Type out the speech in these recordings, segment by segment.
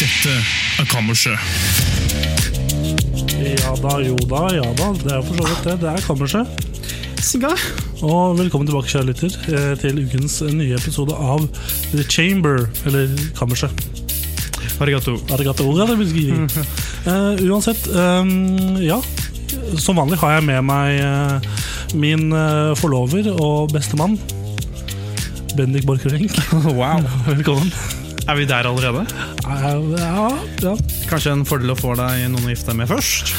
Dette er kammerset. Ja da, jo da, ja da. Det er jo for så vidt det. Det er kammerset. Sigga. Og velkommen tilbake, kjære lytter, eh, til ukens nye episode av The Chamber, eller Kammerset. Arigato. Arigato ora, det vil si. Eh, uansett, eh, ja. Som vanlig har jeg med meg eh, min eh, forlover og bestemann. Bendik Borchgrevink, Wow. velkommen. Er vi der allerede? Eh, Ja, ja. Kanskje en fordel å få deg noen å gifte deg med først?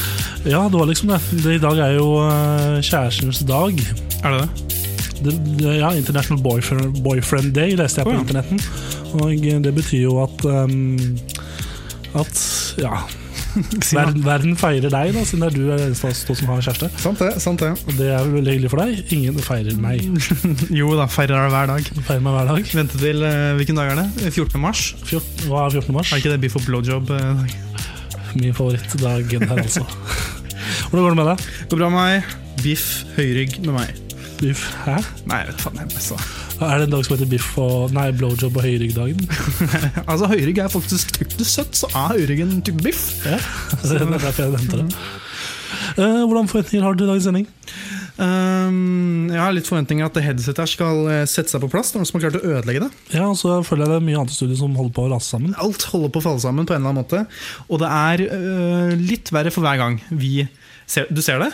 ja, det var liksom det. det. I dag er jo eh, kjærestens dag. Er det det? det, det- ja, International Boyfriend, Boyfriend Day leste jeg på Å, ja. internetten. Og eh, det betyr jo at um, At ja verden, verden feirer deg, da, siden det er du er eneste av oss to som har kjæreste. Sant det. sant det. Og det er vel veldig hyggelig for deg. Ingen feirer meg. Jo da, feirer deg hver dag. De feirer meg hver dag. Vente til eh, Hvilken dag er det? 14. mars? Fjort- hva er 14. mars? Er ikke det Beef og blowjob? eh, Min favorittdagen her, altså. Hvordan går det med deg? Det går bra med meg. Biff høyrygg med meg. Biff? Hæ? Nei, jeg vet faen jeg altså. Er det en dag som heter biff og Nei, blowjob og høyryggdagen? altså, høyrygg er faktisk tykt søtt, så er høyrygg en type biff. Ja, det er derfor jeg nevnte det. Eh, hvordan forventninger har du til dagens sending? Ehm, jeg har litt forventninger at det headsetet her skal eh, sette seg på plass. Noen som har klart å ødelegge det. Ja, og så føler jeg det er mye annet studio som holder på å rase sammen. Alt holder på å falle sammen på en eller annen måte. Og det er øh, litt verre for hver gang vi ser Du ser det?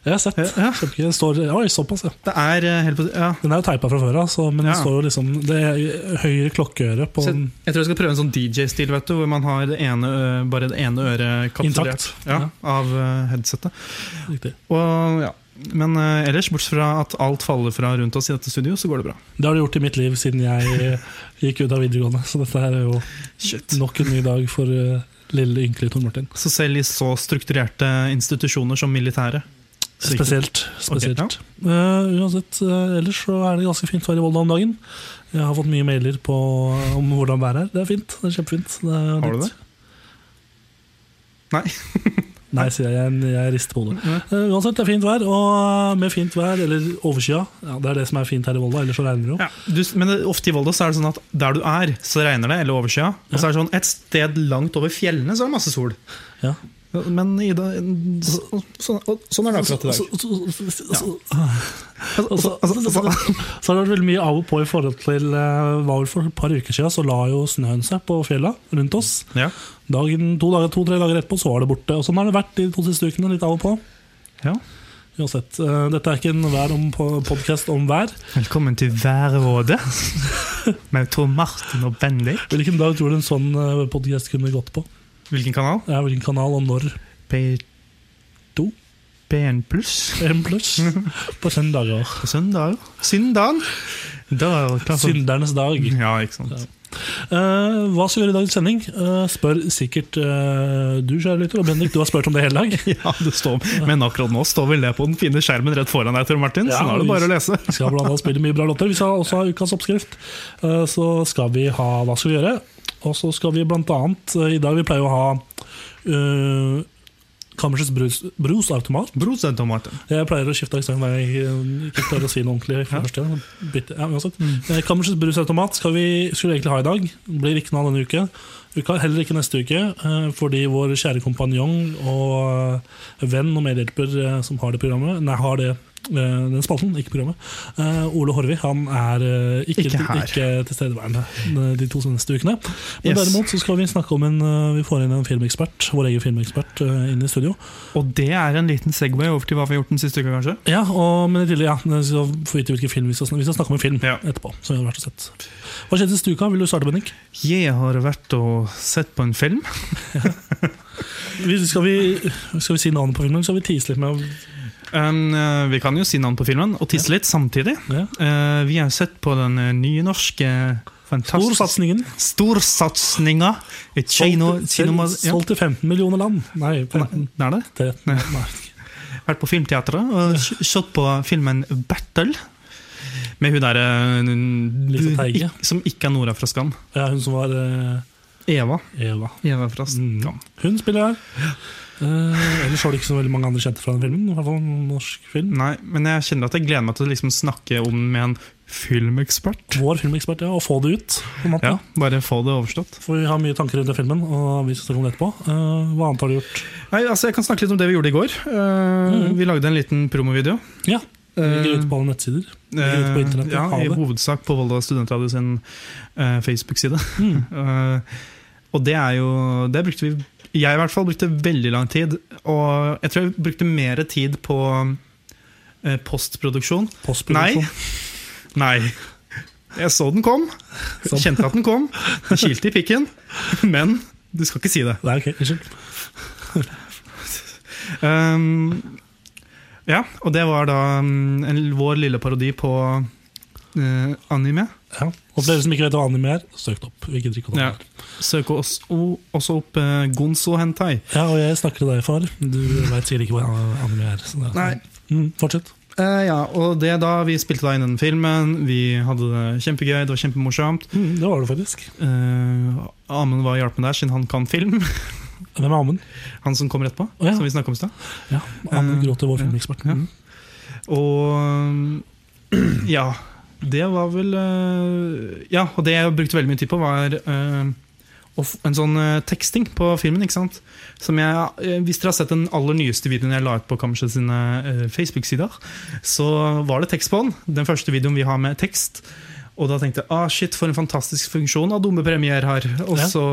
Jeg har sett. Ja, ja. Kjempegøy. Det står, oi, såpass, ja. Det er øh, helt på ja. Den er jo teipa fra før av, så- men det Ja. står jo liksom Det er høyre klokkeøre på Så jeg, den jeg tror jeg skal prøve en sånn DJ-stil, vet du, hvor man har det ene, øh, bare det ene øret kapsulert Intakt. ja, Ja. av øh, headsetet. Riktig. Og, ja. Men øh, ellers, bortsett fra at alt faller fra rundt oss i dette studio, så går det bra. Det har det gjort i mitt liv siden jeg eh, gikk ut av videregående, så dette her er jo nok en ny dag for eh, lille ynkelige Tor Martin. Så selv i så strukturerte institusjoner som militæret så ikke- Spesielt. spesielt. Ok, Eh, uansett, eh, ellers så er det ganske fint vær i Volda om dagen. Jeg har fått mye mailer på, om hvordan været er. Det er fint. det er Kjempefint. Det Har er du det? nytt. Nei. Nei, sier jeg. Jeg, jeg rister på hodet. Ja. Eh, uansett, det er fint vær, og eh, med fint vær, eller overskya, ja, det er det som er fint her i Volda, ellers så regner det jo. Ja, du, men det, ofte i Volda så er det sånn at der du er, så regner det, eller overskya. Og så er det sånn et sted langt over fjellene så er det masse sol. Ja. Men i dag så, så, Sånn er det akkurat i dag. Så, så, så, så, så, Altså, altså, så, altså, altså, så har det vært veldig mye av og på i forhold til eh, hva for et par uker siden, så la jo snøen seg på fjella rundt oss. ja. Dagen, to dager, to, tre dager etterpå så var det borte. Og sånn har det vært de to siste ukene, litt av og på. ja. Uansett, eh, dette er ikke en vær om podkast om vær. Velkommen til Værrådet med Tor Martin og Bendik. Hvilken dag tror du en sånn podkast kunne gått på? Hvilken kanal? Ja, hvilken kanal, og når? P2? To. P1 pluss. En pluss på søndager. På søndag. Syndagen. Da er det klart for Syndernes dag. Ja, ikke sant. Eh, hva skal vi gjøre i dagens sending? Eh, spør sikkert eh, du, kjære lytter. Og Bendik, du har spurt om det hele dag. Ja, det står, Men akkurat nå står vel det på den fine skjermen rett foran deg, Tor Martin. Ja, så nå er det bare å lese. Vi skal blant annet spille mye bra låter. Vi skal også ha ukas oppskrift. Eh, så skal vi ha Hva skal vi gjøre? Og så skal vi blant annet eh, I dag vi pleier å ha eh, Kammersets brus, brusautomat. Brorsan Tor Martin. Jeg pleier å skifte aksent hver gang jeg eh, ikke klarer å si noe ordentlig. For første gang. Bytte, ja, uansett. Mm. Eh, Kammersets brusautomat skal vi, skulle vi egentlig ha i dag. Blir ikke noe av denne uke. uka. Heller ikke neste uke, eh, fordi vår kjære kompanjong og eh, venn og medhjelper eh, som har det programmet Nei, har det eh, den spalten, ikke programmet. Eh, Ole Horvi han er eh, ikke, Ikke her. ikke tilstedeværende eh, de- de to neste ukene. Men Yes. derimot så skal vi snakke om en eh, Vi får inn en filmekspert, vår egen filmekspert, eh, inn i studio. Og det er en liten segway over til hva vi har gjort den siste uka, kanskje? Ja, og, men i tillegg, ja, vi skal få vite hvilken film vi skal snakke Vi skal snakke om en film Ja. etterpå. Som vi har vært og sett Hva skjedde siste uka? Vil du starte, Bennik? Jeg har vært og sett på en film. Vi- Skal vi, skal vi si navnet på filmen? Skal vi tease litt med Um, eh, vi kan jo si navn på filmen, og tisse litt samtidig. Ja. Eh, vi har jo sett på den eh, nye norske fantastiske Storsatsingen. Storsatsinga! Et Kino, Solgt- kinoma, ja, Solgt til 15 millioner land. Nei, 15, det er det. 13 Nei. Nei. Vært på Filmteatret og s- sett på filmen Battle. Med hun eh, derre Lisa Teige. Som ikke er Nora fra Skam. Ja, hun som var eh, Eva. Eva. Eva fra Mm. Skam. Hun spiller her. Eh, ellers var det ikke så veldig mange andre kjente fra den filmen. I hvert fall en norsk film. Nei, men jeg kjenner at jeg gleder meg til å liksom snakke om den med en filmekspert. Vår filmekspert, ja. Og få det ut. på en måte. Ja, bare få det overstått. For vi har mye tanker rundt den filmen, og vi skal snakke om det etterpå. Eh, hva annet har du gjort? Nei, altså Jeg kan snakke litt om det vi gjorde i går. Eh, Mhm. Vi lagde en liten promovideo. Ja, Eh, Ligger ute på alle nettsider. ligger ute på eh, internettet, ja, I havet. hovedsak på Volda studentradio sin eh, Facebook-side. Mm. Eh, og det er jo Det brukte vi Jeg i hvert fall brukte veldig lang tid. Og jeg tror jeg brukte mer tid på eh, postproduksjon. Postproduksjon. Nei. Jeg så den kom. Sånn. Kjente at den kom. Det kilte i pikken. Men du skal ikke si det. Nei, ok, unnskyld. Um, ja, og det var da um, en, vår lille parodi på eh, anime. Ja. Og for dere som ikke vet hva anime er, søk det opp. Vi gidder ikke å ta Ja. det. Søk oss o, også opp eh, Gonzo Hentai. Ja, og jeg snakker til deg, far. Du veit sikkert ikke hva anime er. Så det er Nei. Mm, fortsett. Eh, ja, og det da vi spilte da inn den filmen, vi hadde det kjempegøy, det var kjempemorsomt. Mm, det var det faktisk. Eh, Amund var og hjalp meg der, siden han kan film. Hvem er Amund? Han som kom rett på, Å, ja. som vi snakket om i stad. Ja, Amund Eh, Gråter, vår ja, filmekspert. ja. Mm. Og um, ja, det var vel eh, Ja, og det jeg brukte veldig mye tid på, var eh, å f- en sånn eh, teksting på filmen. ikke sant? Som jeg, eh, Hvis dere har sett den aller nyeste videoen jeg la ut på Kammerset sine eh, Facebook-sider, så var det tekst på den. Den første videoen vi har med tekst. Og da tenkte jeg ah shit, for en fantastisk funksjon av dumme premier her. Og Ja. så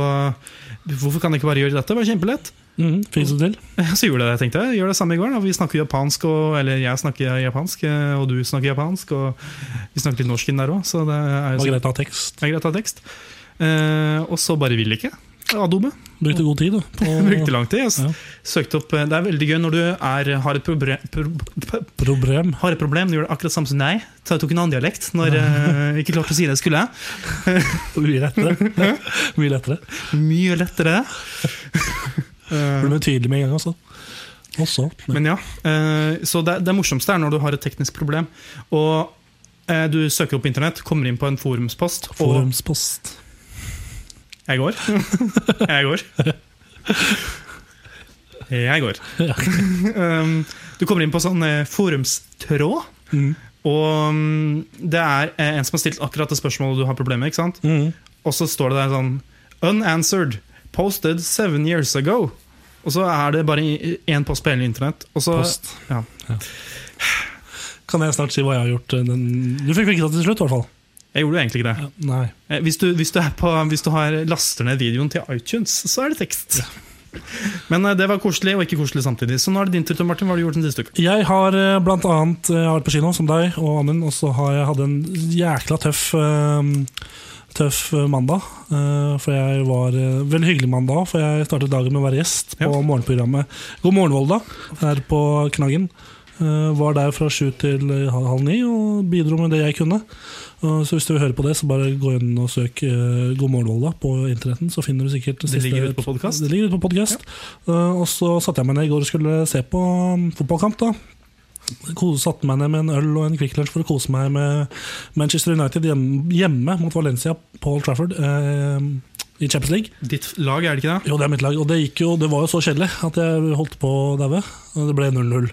Hvorfor kan jeg ikke bare gjøre dette? Det var kjempelett. Mm, Fikk du det til? Så gjorde jeg det, jeg tenkte jeg. Gjør det samme i går. Da. Vi snakker japansk, og, eller jeg snakker japansk, eh, og du snakker japansk. Og vi snakker litt norsk inn der òg, så det er Det jo var så- greit å ha tekst. det er greit å ha tekst. Eh, og så bare vil ikke. Adobe. Brukte god tid, du. på- Brukte lang tid. Jeg s- Ja. Søkte opp eh, Det er veldig gøy når du er, har, et proble pro Problem. har et problem. Du gjør det akkurat samme som nei. Så jeg tok en annen dialekt når eh, jeg ikke klarte å si det jeg skulle. Mye lettere. Mye lettere. Mye lettere. Eh, Ble mer tydelig med en gang, altså. Også. Men, Men ja, eh, så det, det morsomste er når du har et teknisk problem. Og eh, du søker opp internett, kommer inn på en forumspost, Forumspost. og jeg går. jeg går. Jeg går. um, du kommer inn på sånn eh, forumstråd, Mm. og mm, det er eh, en som har stilt akkurat det spørsmålet du har problemer med, ikke sant? Mm. Og så står det der sånn Unanswered, posted seven years ago. Og så er det bare i- én post på hele internett. Og så, Post. Ja. Kan jeg snart si hva jeg har gjort? eh, Den... Du fikk vite det til slutt, i hvert fall. jeg gjorde jo egentlig ikke det. Ja, nei. Eh, Hvis du, hvis du, er på, hvis du har laster ned videoen til iTunes, så er det tekst. Men eh, det var koselig og ikke koselig samtidig. Så nå er det din tur, Tom Martin. Hva har du gjort den siste uka? Jeg har eh, blant annet eh, vært på kino, som deg og Amund, og så har jeg hatt en jækla tøff eh, Tøff eh, mandag. eh, For jeg var eh, Veldig hyggelig mandag, for jeg startet dagen med å være gjest på Ja. morgenprogrammet God morgen, Volda, her på Knaggen. Eh, Var der fra sju til eh, hal- halv ni og bidro med det jeg kunne. Eh, Så hvis du vil høre på det, så bare gå inn og søk eh, God morgen, Volda på internetten, så finner du sikkert Det ligger ute på podcast. det ligger ute på podkast. og så satte jeg meg ned i går og skulle se på um, fotballkamp. da Ko- Satte meg ned med en øl og en Kvikk Lunsj for å kose meg med Manchester United hjemme, hjemme mot Valencia på Old Trafford eh, i Champions League. Ditt lag, er det ikke det? Jo, det er mitt lag. Og det, gikk jo, det var jo så kjedelig at jeg holdt på å daue. Og Det ble 0-0.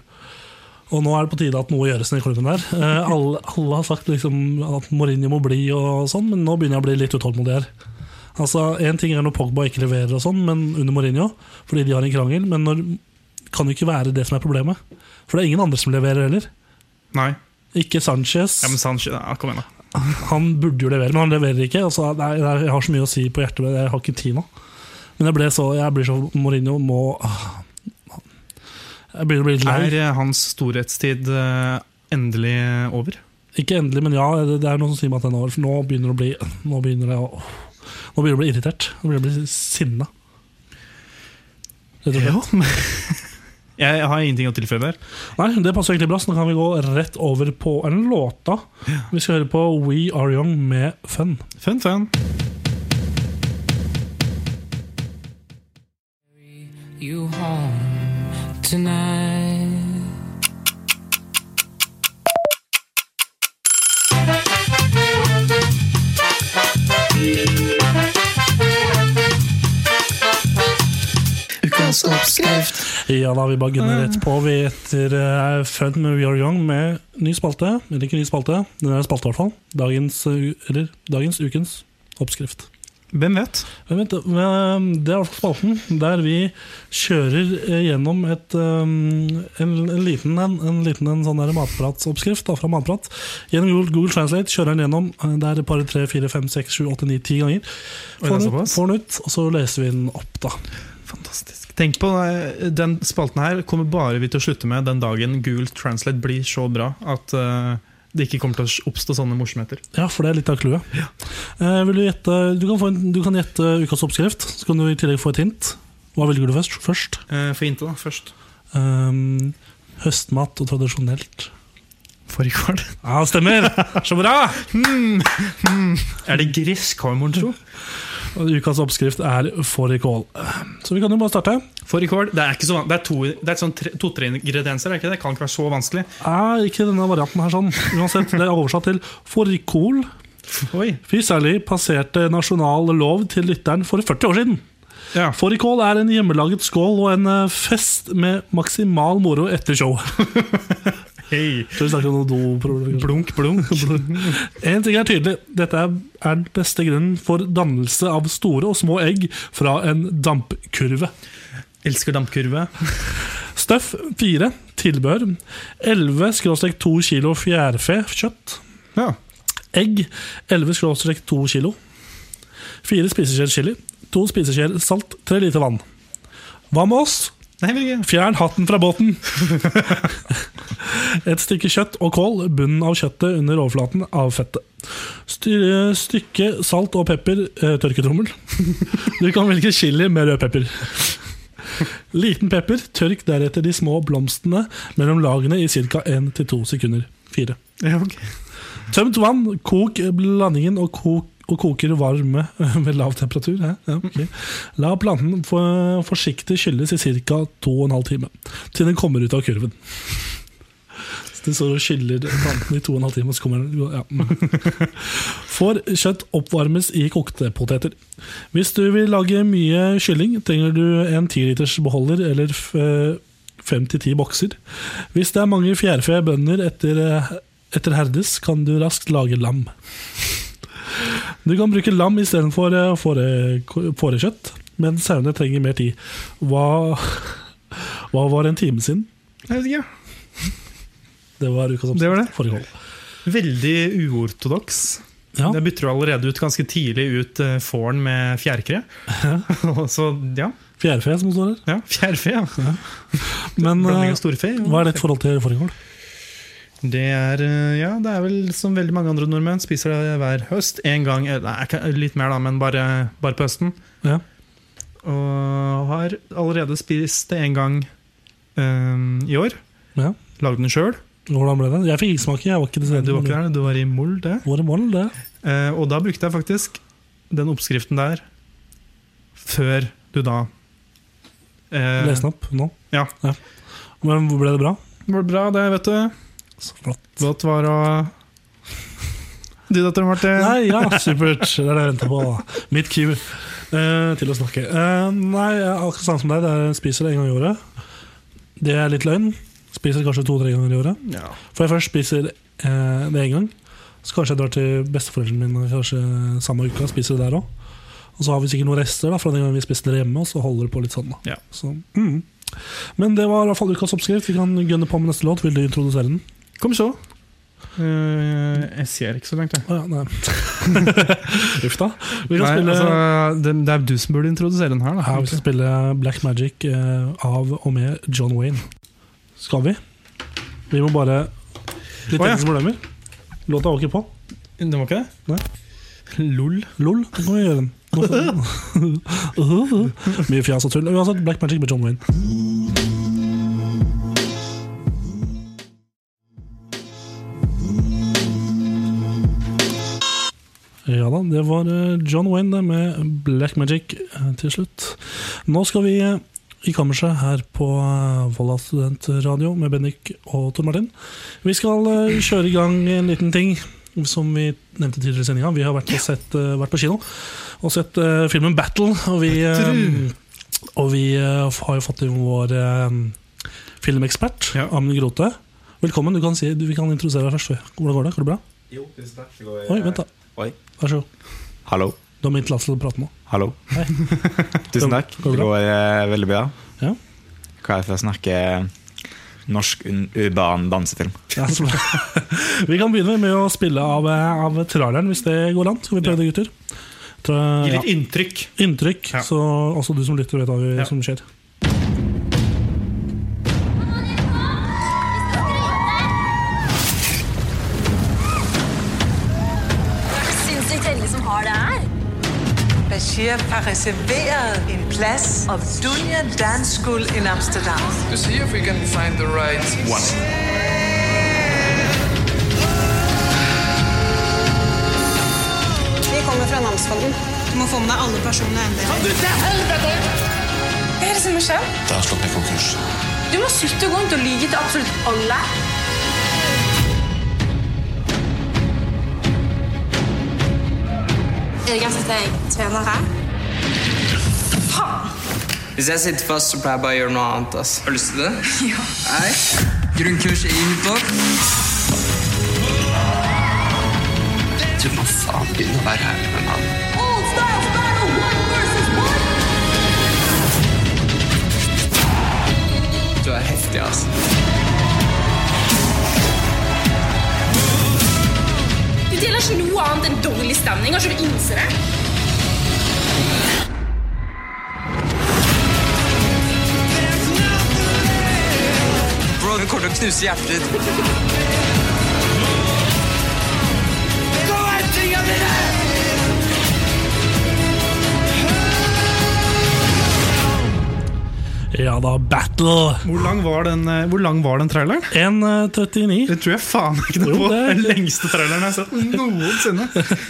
Og nå er det på tide at noe gjøres i klubben der. Eh, alle, alle har sagt liksom at Mourinho må bli, og sånn, men nå begynner jeg å bli litt utålmodig her. Altså, Én ting er når Pogba ikke leverer, og sånn, men under Mourinho, fordi de har en krangel. Men når, kan jo ikke være det som er problemet. For det er ingen andre som leverer heller. Nei. Ikke Sanchez. Ja, men Sanchez, ja, kom igjen, da. Han burde jo levere, men han leverer ikke. Altså, nei, nei, jeg har så mye å si på hjertet, men jeg har ikke tid nå. Men jeg, ble så, jeg blir så Mourinho må ah, Jeg begynner å bli litt lei. Er eh, hans storhetstid eh, endelig over? Ikke endelig, men ja, det, det er noen som sier meg at den er over. For nå begynner det å bli Nå begynner det å Nå begynner det å bli irritert. Nå begynner det å bli sinna. Rett og slett. Ja. Jeg har ingenting å tilføye der. Nei, det passer egentlig bra, så nå kan vi gå rett over på en låta. Vi skal høre på We Are Young med Fun. Fun, fun. you home tonight. Ja da, vi bare Mm. gunner rett på. Vi etter eh, Fun med We Are Young med ny spalte. Eller ikke ny spalte, den er spalte i hvert fall. Dagens, eh, u- eller, dagens ukens oppskrift. Hvem vet? Men vent, eh, det er i hvert fall spalten der vi kjører eh, gjennom et, eh, en, en liten en, en, liten, en sånn der matpratsoppskrift da, fra Matprat. Gjennom Google, Google Translate kjører den gjennom eh, der et par, tre, fire, fem, seks, sju, åtte, ni, ti ganger. Oi, det Får er den, ut, såpass. får den ut, og så leser vi den opp, da. Fantastisk. Tenk på eh, Den spalten her kommer bare vi til å slutte med den dagen Google Translate blir så bra at eh, det ikke kommer til å oppstå sånne morsomheter. Ja, for det er litt av clouet. Eh, vil du, gjette, du, kan få en, du kan gjette ukas oppskrift, så kan du i tillegg få et hint. Hva velger du først? først? Eh, Få hintet, da, først. Ehm, høstmat og tradisjonelt. Fårikål. Ja, stemmer! Så bra! Er det grisk, har vi morgen, tro? Og Ukas oppskrift er fårikål. Så vi kan jo bare starte. Fårikål. Det er, ikke så van det er to, det er sånn tre- to-tre ingredienser, er det ikke det? Det kan ikke være så vanskelig. Er ikke denne varianten her sånn. Uansett, det er oversatt til fårikål. Oi. Fy særlig passerte nasjonal lov til lytteren for 40 år siden. Ja. Fårikål er en hjemmelaget skål og en eh, fest med maksimal moro etter show. Hei. Så vi snakker om noe doproblem. kanskje. Blunk, blunk. En ting er tydelig. Dette er er den beste grunnen for dannelse av store og små egg fra en dampkurve. Elsker dampkurve. Støff 4. Tilbehør. 11-2 kilo fjærfe kjøtt. Ja. Egg 11-2 kilo. 4 spiseskjeer chili. 2 spiseskjeer salt. 3 liter vann. Hva med oss? Nei, Birger. Fjern hatten fra båten! Et stykke kjøtt og kål, bunnen av kjøttet under overflaten av fettet. Styr, stykke salt og pepper, eh, tørketrommel. Du kan velge chili med rød pepper. Liten pepper, tørk deretter de små blomstene mellom lagene i ca. 1-2 sekunder. 4. Ja, ok. Tømt vann, kok blandingen og, kok, og koker varme ved lav temperatur. Hæ? Ja, ok. La planten for, forsiktig skylles i ca. 2,5 timer, til den kommer ut av kurven. Så Den står og skyller planten i 2,5 timer, så kommer den ja. mm. Får kjøtt oppvarmes i kokte poteter. Hvis du vil lage mye kylling, trenger du en 10 liters beholder eller f- fem til ti bokser. Hvis det er mange fjærfe bønder etter, eh, etter herdes, kan du raskt lage lam. Du kan bruke lam istedenfor eh, fåre- fårekjøtt, men sauene trenger mer tid. Hva, hva var en time siden? Jeg vet ikke. Det var ukas Det var det. forhold. Veldig uortodoks. Ja. Det bytter du allerede ut ganske tidlig ut eh, fåren med fjærkre. Og Så ja, Fjærfe som det står her. ja fjærfe. Ja. Men Blanding eh, av storfe. ja. hva er ditt forhold til fårikål? Det er, eh, ja, det er vel som veldig mange andre nordmenn, spiser det hver høst. En gang, eh, nei, ikke- litt mer da, men bare, bare på høsten. Ja. Og har allerede spist det en gang eh, i år. Ja. Lagd den sjøl. Hvordan ble det? Jeg fikk ikke smake, jeg var ikke til Du var ikke der, du var i Mol, det. Hvor er målet, det? Eh, og da brukte jeg faktisk den oppskriften der før du da eh, Les den opp nå. ja. Men ble det bra? Var det bra, det, vet du? Så flott. Godt var å Du, datter Martin. Nei, ja, supert. Det er det jeg venter på. da. Mitt cue eh, til å snakke. Eh, nei, jeg er akkurat samme som deg. Det er, jeg spiser det en gang i året. Det er litt løgn. Spiser det kanskje to-tre ganger i året. Ja. For jeg først spiser eh, det én gang. Så kanskje jeg drar til besteforeldrene mine Kanskje samme uka. Spiser det der òg. Og så har vi sikkert noen rester da, fra den gangen vi spiste det hjemme. Og så holder det på litt sånn da. Ja. Så, mm. Men det var i hvert fall ukas oppskrift. Vi kan gønne på med neste låt. Vil du introdusere den? Kom så. Eh, jeg ser ikke så langt, jeg. Å ja, nei. Uff da. Vi kan Nei, spille altså, det, det er du som burde introdusere den her. Da. Her vi skal spille Black Magic eh, av og med John Wayne. Skal vi? Vi må bare Å, Litt ja. tekniske problemer. Låta var ikke på. Den var ikke det? Nei. Lol. Lol, det kan vi gjøre den. Mye fjas og tull. Uansett, Black Magic med John Wayne. Ja da, det var eh, John Wayne det, med Black Magic eh, til slutt. Nå skal vi eh, i kammerset her på eh, Volda studentradio med Bendik og Tor Martin. Vi skal eh, kjøre i gang en liten ting som vi nevnte tidligere i sendinga. Vi har vært, og sett, eh, vært på kino og sett eh, filmen Battle, og vi, eh, Battle! og vi eh, har jo fått inn vår eh, filmekspert, Ja. Amund Grote. Velkommen. Du kan si, du, vi kan introdusere deg først. Hvordan går det? Går det bra? Jo, tusen takk. Oi, vent, da. Oi. Vær så god. Hallo. Du har min tillatelse til å prate nå. Hallo. Hei. Tusen takk. Går det Det bra? går eh, veldig bra. Ja. Hva er det for å snakke norsk un- urban dansefilm? Ja, så bra. Vi kan begynne med å spille av, eh, av traileren, hvis det går an. Skal vi prøve det, gutter? Tra- Gi ja. litt inntrykk. Inntrykk, Ja. så også du som lytter vet hva vi- Ja. som skjer. Sinnssykt heldig som har det her. Bashir har reserveret en plads om Dunja Dance School i Amsterdam. to see if we can find the right one. Vi kommer fra namsfogden. Du må få med deg alle personlige eiendeler. Hva er det som skjer? Det har slått meg konkurs. Du må slutte å gå rundt og lyge til absolutt alle. Er det greit at jeg trener her? Hvis jeg sitter fast, så pleier jeg bare å gjøre noe annet. ass. Har du lyst til det? Ja. Nei. Grunnkurs i hiphop. Jeg tror man faen begynner å være herlig med mannen. Du er heftig, ass. Du deler ikke noe annet enn dårlig stemning. Har ikke du innser det? Bro, du kommer til å knuse hjertet ditt. Ja da, battle! eh, Hvor lang var den, eh, hvor lang var den traileren? 1.39 Det tror jeg faen ikke det Jo, var det er- den lengste traileren jeg har sett noensinne.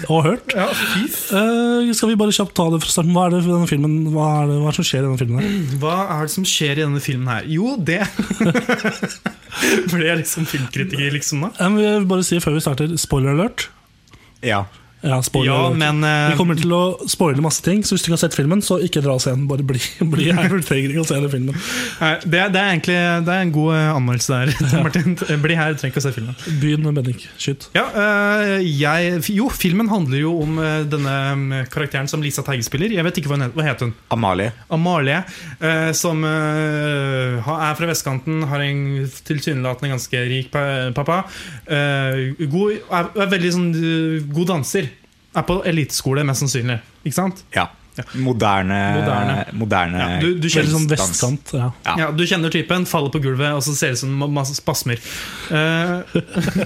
og hørt. Ja, fy f- Eh, skal vi bare kjapt ta det fra starten? Hva er det, for denne filmen? Hva er det, hva er det som skjer i denne filmen? her? Hva er det som skjer i denne filmen her? Jo, det Ble jeg liksom filmkritiker, liksom, da? Jeg vil bare si før Eh, vi starter, spoiler alert. Ja. Ja, spoiler Ja, alert. men eh, Vi kommer til å spoile masse ting, så hvis du ikke har sett filmen, så ikke dra og se den. Bare bli, bli her, du trenger ikke å se den filmen. nei, det, er- det er egentlig det er en god eh, anmeldelse der. Tom Martin, bli her, du trenger ikke å se filmen. Begynn, Bendik. Skyt. Ja, eh, jeg, jo, filmen handler jo om eh, denne mm, karakteren som Lisa Teige spiller. Jeg vet ikke hva hun het- hva het hun. Amalie. Amalie, eh, som eh, ha- er fra vestkanten, har en tilsynelatende ganske rik pa- pappa. Eh, god, er, er veldig sånn eh, god danser. Er på eliteskole, mest sannsynlig. Ikke sant? Ja. Moderne Moderne. moderne Ja, du, du, Veldig kjenner, sånn dans. vestkant. Ja. ja. ja, du kjenner typen, faller på gulvet, og så ser det ut som ma- masse spasmer. Eh,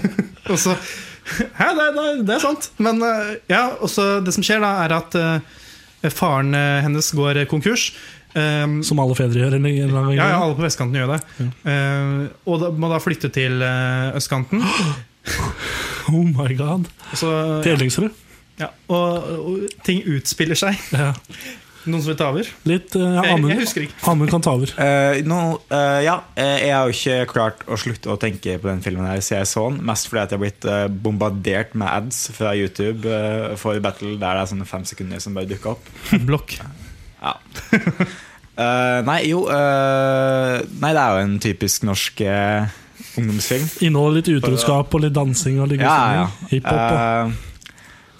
og så Hæ, det, er- det, er- det er sant. Men eh, ja, og så det som skjer, da, er at eh, faren eh, hennes går eh, konkurs. Um, Som alle fedre gjør. Eller, eller, Ja, ja, alle på vestkanten gjør det. Eh, og da, må da flytte til eh, østkanten. Oh my god. Så, Til Ellingsrud. ja, og, og ting utspiller seg. Ja. Noen som vil ta over? Litt eh, ja, Jeg- Amund- jeg husker ikke. Amund kan ta over. Eh, nå, eh, ja, eh, jeg har jo ikke klart å slutte å tenke på den filmen her siden jeg så den. Mest fordi at jeg har blitt eh, bombardert med ads fra YouTube eh, for Battle der det er sånne fem sekunder som bare dukker opp. Blokk. Eh, nei, jo eh, Nei, det er jo en typisk norsk eh, ungdomsfilm. Inneholder litt utroskap og litt dansing og litt Ja, ja. gusting. Hiphop. og- Eh,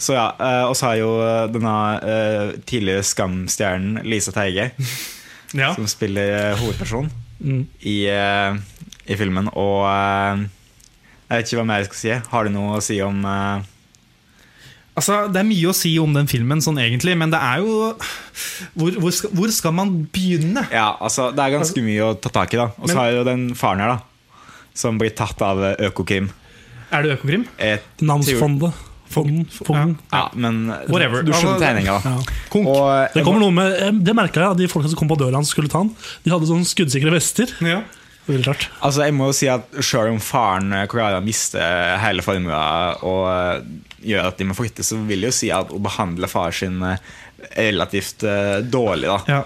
så ja, eh, Og så har jeg jo eh, denne eh, tidligere Skam-stjernen Lisa Teige, Ja. som spiller eh, hovedpersonen Mm. i, eh, i filmen. Og eh, jeg vet ikke hva mer jeg skal si. Har du noe å si om eh, Altså, det er mye å si om den filmen, sånn egentlig, men det er jo Hvor, hvor, skal, hvor skal man begynne? Ja, altså, det er ganske mye å ta tak i, da. Og så Men- har jeg jo den faren her, da. Som blir tatt av eh, Økokrim. Er det Økokrim? Et- Namsfondet. Fonden. Fonden. Ja, men Whatever. du skjønner tegninga, da. Ja. Konk. Og Det kommer noe med eh, Det merka jeg, at de folka som kom på døra hans skulle ta han, de hadde sånne skuddsikre vester. Ja. Veldig rart. Altså, jeg må jo si at Selv om faren eh, klarer å miste hele formuen og eh, gjør at de må flytte, så vil jeg jo si at å behandle far sin eh, relativt eh, dårlig, da. Ja.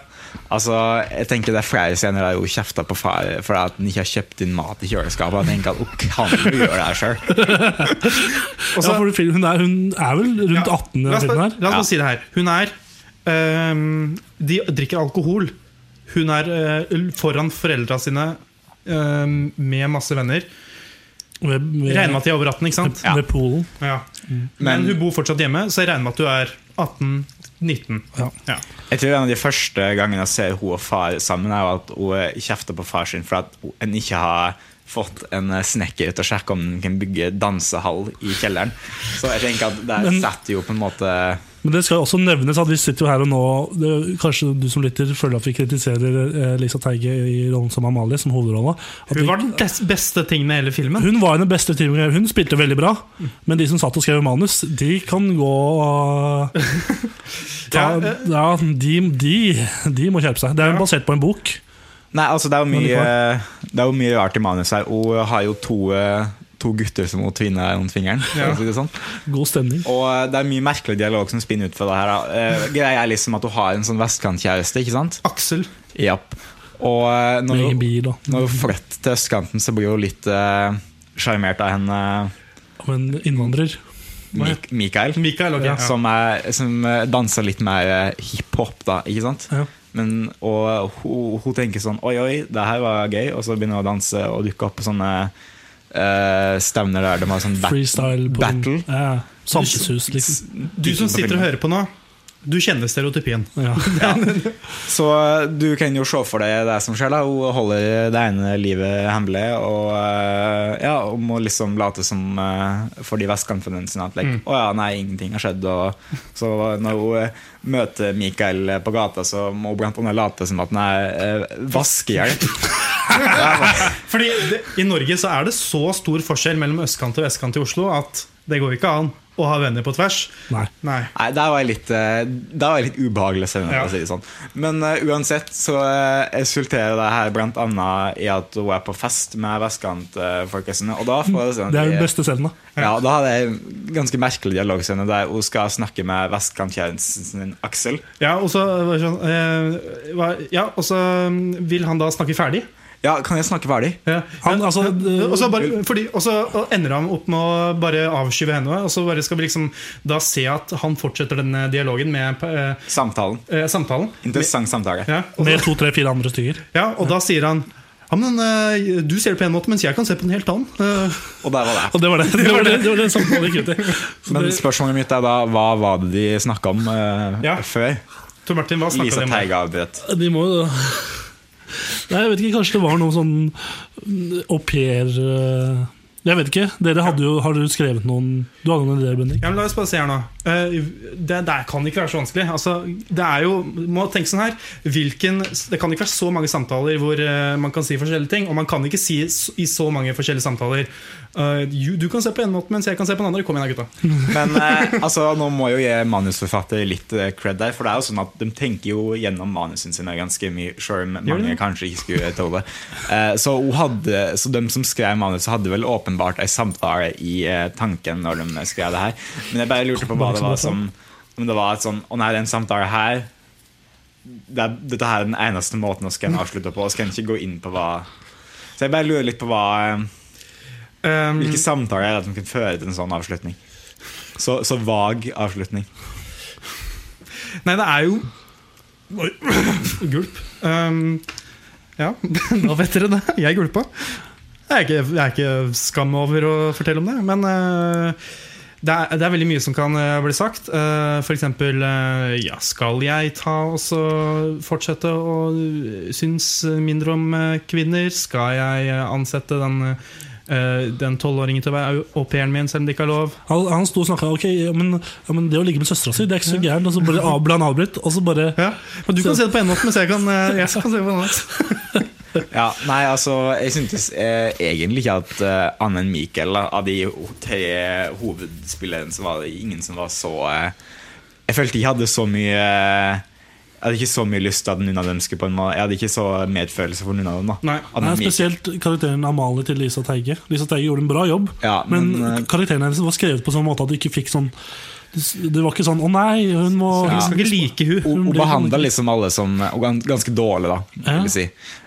Altså, jeg tenker Det er flere scener der hun kjefter på far fordi at han ikke har kjøpt inn mat i kjøleskapet. Og jeg tenker at hun kan jo gjøre det her sjøl. Og så- ja, for film- hun, er, hun er vel rundt 18 i La den oss, filmen bare, her. la oss bare si det her. Hun er ehm, De drikker alkohol. Hun er eh, foran foreldra sine ehm, med masse venner. Med, med, Regner med at de er over 18, ikke sant? Ja. med Polen. Ja. Men hun bor fortsatt hjemme, så jeg regner med at du er 18-19. Ja. Jeg tror En av de første gangene jeg ser hun og far sammen, er jo at hun kjefter på far sin for at hun- en ikke har fått en eh, snekker til å sjekke om han kan bygge dansehall i kjelleren. Så jeg tenker at der setter jo på en måte Men det skal jo også nevnes at vi sitter jo her og nå det, Kanskje du som lytter føler at vi kritiserer eh, Lisa Teige i rollen som Amalie, som hovedrolla. At Hun vi- var den des- beste tingen med hele filmen. hun var den beste teamet. Hun spilte veldig bra, men de som satt og skrev manus, de kan gå og ta, Ja, eh. ja, de, de, de må skjerpe seg. Det er jo basert på en bok. Nei, altså det er jo Men mye, likevel. det er jo mye rart i manuset her. Hun har jo to, eh, to gutter som hun tvinner rundt fingeren. for å si det sånn. God stemning. Og eh, det er mye merkelig dialog som spinner ut fra det her. da. Eh, Greia er liksom at hun har en sånn vestkantkjæreste, ikke sant? Aksel. Japp. Og eh, når Med hun- egen bil og Når hun flytter til østkanten, så blir hun litt eh, sjarmert av henne av en innvandrer. Mik Mikael, Mikael, ok. Ja. som, er, som eh, danser litt mer eh, hiphop, da, ikke sant? Ja. Men, og hun, hun tenker sånn Oi, oi, det her var gøy, og så begynner hun å danse og dukke opp på sånne eh, stevner der de har sånn bat Freestyle på battle. Ja, Samfunnshus, liksom. Du som sitter og hører på nå, du kjenner stereotypien. Ja. Så eh, du kan jo se for deg det som skjer. da Hun holder det ene livet hemmelig og eh, ja, og må liksom late som eh, for de vestkantfondensene at Mm. like, å ja, nei, ingenting har skjedd. Og, så når hun eh, møter Mikael på gata, så må hun blant annet late som at han er uh, vaskehjelp. Fordi det, I Norge så er det så stor forskjell mellom østkant og vestkant i Oslo at det går ikke an å ha venner på tvers. Nei. Nei. Nei, der var jeg litt, eh, der var jeg litt ubehagelig senere, for Ja. å si det sånn. Men eh, uansett så eh, resulterer det her blant annet i at hun er på fest med vestkantfolka sine. Og da får jeg sånn Det er den beste scenen, da. Ja, da hadde jeg en ganske merkelig dialogscene der hun skal snakke med vestkantkjæresten sin Aksel. Ja, og så var det sånn, eh, hva- ja, og så mm, vil han da snakke ferdig. Ja, kan jeg snakke ferdig? Ja. Han, altså, Ja, og så bare, fordi, og så ender han opp med å bare avskyve henne. Og så bare skal vi liksom da se at han fortsetter denne dialogen med eh, Samtalen. eh, samtalen. Interessant samtale. Ja, og, Med to, tre, fire andre stykker. ja, og da sier han ja, men eh, Du ser det på en måte, mens jeg kan se på en helt annen. Eh, Og der var det. Og det var det. Det var det, det, var det samtalen gikk ut i. Så Men det- spørsmålet mitt er da hva var det de snakka om eh, Ja. før? sånn Tor Martin, hva snakket Lisa dere om? Teige avbrøt. De må jo Nei, jeg vet ikke, kanskje det var noe sånn au pair eh, Jeg vet ikke. Dere hadde jo, har dere skrevet noen Du hadde noen ideer, Bendik? Ja, men la oss bare se her nå. Eh, Det der kan ikke være så vanskelig. Altså, det er jo, må tenke sånn her hvilken, Det kan ikke være så mange samtaler hvor eh, man kan si forskjellige ting. Og man kan ikke si s- i så mange forskjellige samtaler eh, «You- Du kan se på en måte, mens jeg kan se på en annen. Kom igjen, da, gutta. Men eh, altså, nå må jeg jo gi manusforfatter litt eh, cred der. For det er jo sånn at de tenker jo gjennom manusene sine ganske mye, sjøl om Gjør de mange det? kanskje ikke skulle tåle det. Eh, så, hun hadde, så de som skrev manuset, hadde vel åpenbart ei samtale i eh, tanken når de skrev det her. Men jeg bare lurte på hva det sånn, var som Om det var et sånn Å nei, den samtalen her det er, Dette her er den eneste måten vi kan avslutte på. Vi kan ikke gå inn på hva Så jeg bare lurer litt på hva eh, Um, hvilke samtaler er det som kan føre til en sånn avslutning? Så, så vag avslutning. nei, det er jo Oi. Gulp. Um, ja, da vet dere det. Jeg gulpa. Jeg er ikke, jeg er ikke skam over å fortelle om det, men eh, det er, det er veldig mye som kan eh, bli sagt. Uh, for eksempel eh, ja, Skal jeg ta og så fortsette å eh, synes mindre om eh, kvinner? Skal jeg eh, ansette den eh, Den tolvåringen til å være au pairen min, selv om det ikke er lov? Han, han sto og snakka ok, ja, men, ja, men det å ligge med søstera si, det er ikke så gærent. Og så bare av- ble han avbrutt, og så bare Ja. Men du kan se det på en måte, mens jeg kan, eh, jeg kan se det på en annen. Ja, nei, altså, jeg syntes eh, egentlig ikke at eh, annet enn Mikael, da, av de ho- tre hovedspillerne, så var det ingen som var så eh, Jeg følte de hadde så mye eh, hadde ikke så mye lyst til at noen av dem skulle på en måte Jeg hadde ikke så medfølelse for noen av dem. da Nei. At Nei, de- spesielt karakteren Amalie til Lisa Teige. Lisa Teige gjorde en bra jobb, Ja, men, men, eh, karakteren hennes var skrevet på sånn måte at du ikke fikk sånn Det var ikke sånn 'Å nei, hun må Vi liksom, skal ikke like hun. Hun, hun blir- behandla liksom alle som og gans- ganske dårlig, da. Vil Ja. jeg si.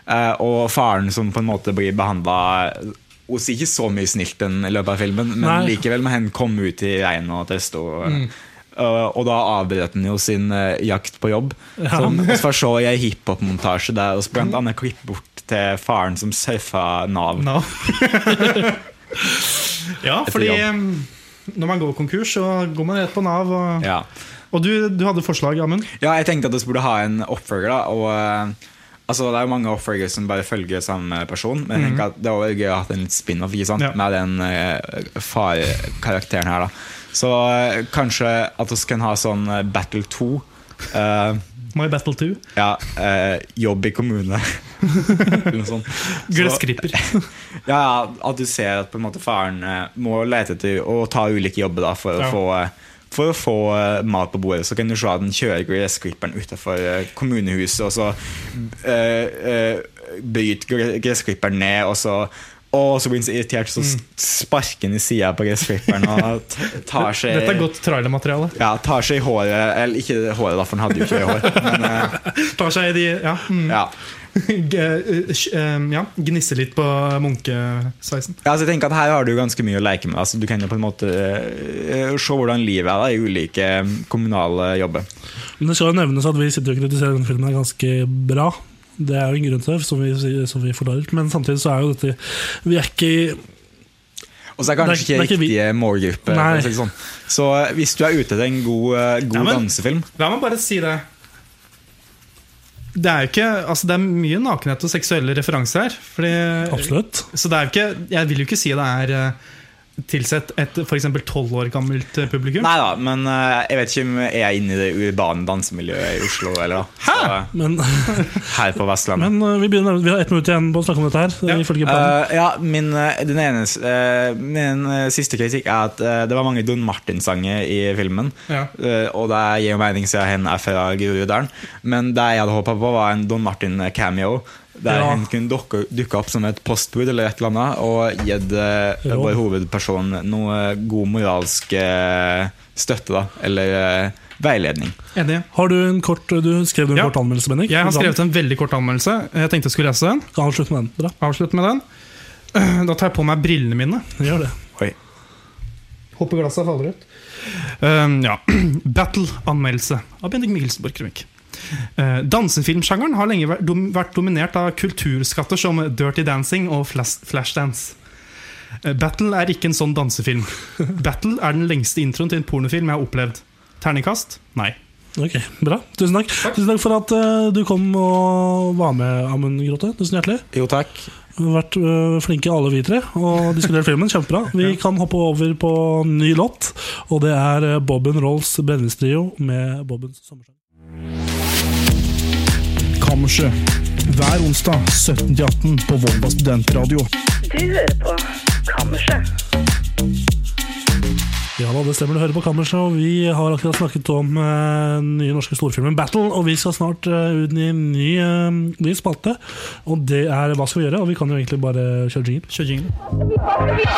Eh, og faren som på en måte blir behandla ikke så mye snilt den i løpet av filmen, men Nei. likevel må hen komme ut i regn og teste. Og, eh, og da avbrøt han jo sin eh, jakt på jobb. Som vi får se i en hiphop-montasje der vi blant annet klipper bort til faren som surfa Nav. No. ja, Etter fordi jobb. eh, når man går konkurs, så går man rett på Nav. Og, Ja. og du, du hadde forslag, Amund? Ja, jeg tenkte at vi burde ha en oppfølger. da Og eh, altså, Det er jo mange oppfølgere som bare følger samme person. Men jeg tenker at det var gøy å ha hatt en litt spin-off ikke sant? Ja. med den uh, farkarakteren her. da Så eh, kanskje at vi kan ha sånn eh, Battle 2. eh, My Battle 2. ja, eh, jobb i kommune. Eller noe sånt. Så- Gressklipper. ja, at du ser at på en måte faren eh, må lete etter og ta ulike jobber da, for, Ja. å få, eh, for å få eh, mat på bordet. Så kan du se at den kjører gressklipperen utenfor eh, kommunehuset, og så eh, eh, bryter gre- gressklipperen ned, og så og så blir han så irritert, så Mm. s- sparker han i sida på gressklipperen og t- tar seg Dette er godt trailermateriale. Ja, tar seg i håret Eller ikke håret, da, for han hadde jo ikke hår. Men, eh, Tar seg i de Ja. Mm. ja. G- eh, sj- eh, ja Gnisse litt på munkesveisen. Ja, altså jeg tenker at Her har du ganske mye å leke med. Altså, du kan jo på en måte eh, se hvordan livet er da, i ulike eh, kommunale jobber. Men det skal jo nevnes at vi sitter og kritiserer denne filmen er ganske bra. Det er jo en grunn til det, som vi, sier- som vi forklarer. Men samtidig så er jo dette Vi er ikke Og så er Det er- kanskje ikke det er ikke vi- riktige målgruppe. Nei. for å si det sånn. Så eh, hvis du er ute etter en god, eh, god Ja, men- dansefilm La meg bare si det. Det er jo ikke Altså det er mye nakenhet og seksuelle referanser her. Fordi, Absolutt. Så det er jo ikke Jeg vil jo ikke si det er eh, tilsett et f.eks. tolv år gammelt eh, publikum. Nei da, men eh, jeg vet ikke om jeg er inne i det urbane dansemiljøet i Oslo. Eller, da. Så, Men, eh, her på Vestlandet. men eh, vi, begynner, vi har ett minutt igjen på å snakke om dette her. Ja. Ifølge planen. Eh, ja, min, eh, den ene, eh, min eh, siste kritikk er at eh, det var mange Don Martin-sanger i filmen. Ja. Eh, og det gir jo mening siden hen er fra Groruddalen. Men det jeg hadde håpa på, var en Don Martin-cameo. Der Ja. hun kunne dukke, dukke opp som et postbud eller et eller annet og gitt eh, Råd. vår hovedperson noe god moralsk eh, støtte, da. Eller eh, veiledning. Enig. Har du en kort Du skrev en Ja. kort anmeldelse, Bendik. Jeg har skrevet en veldig kort anmeldelse. Jeg tenkte jeg skulle lese den. Kan avslutte med den. Bra. Avslutte med den. Eh, Da tar jeg på meg brillene mine. Gjør det. Oi. Håper glasset faller ut. Um, ja. Battle-anmeldelse av Bendik Mikkelsen Borchgrevink. Uh, dansefilmsjangeren har lenge vært, dom, vært dominert av kulturskatter som Dirty Dancing og flas- Flashdance. Eh, Battle er ikke en sånn dansefilm. Battle er den lengste introen til en pornofilm jeg har opplevd. Terningkast? Nei. Ok, Bra. Tusen takk. Tusen takk for at eh, du kom og var med, Amund Grotte. Tusen hjertelig. Jo, takk. Vi har vært øh, flinke alle vi tre og diskutert filmen. Kjempebra. Vi kan hoppe over på ny låt, og det er øh, Bobben Rolls Brennestrio med Bobbens sommersang. Kammerset. Hver onsdag 17-18 på Volda studentradio. Ja da, det stemmer. Du hører på Kammerset, og vi har akkurat snakket om øh, den nye norske storfilmen Battle, og vi skal snart øh, ut i en ny, øh, ny spalte, og det er Hva skal vi gjøre? Og vi kan jo egentlig bare kjøre jingle. Kjør jingle.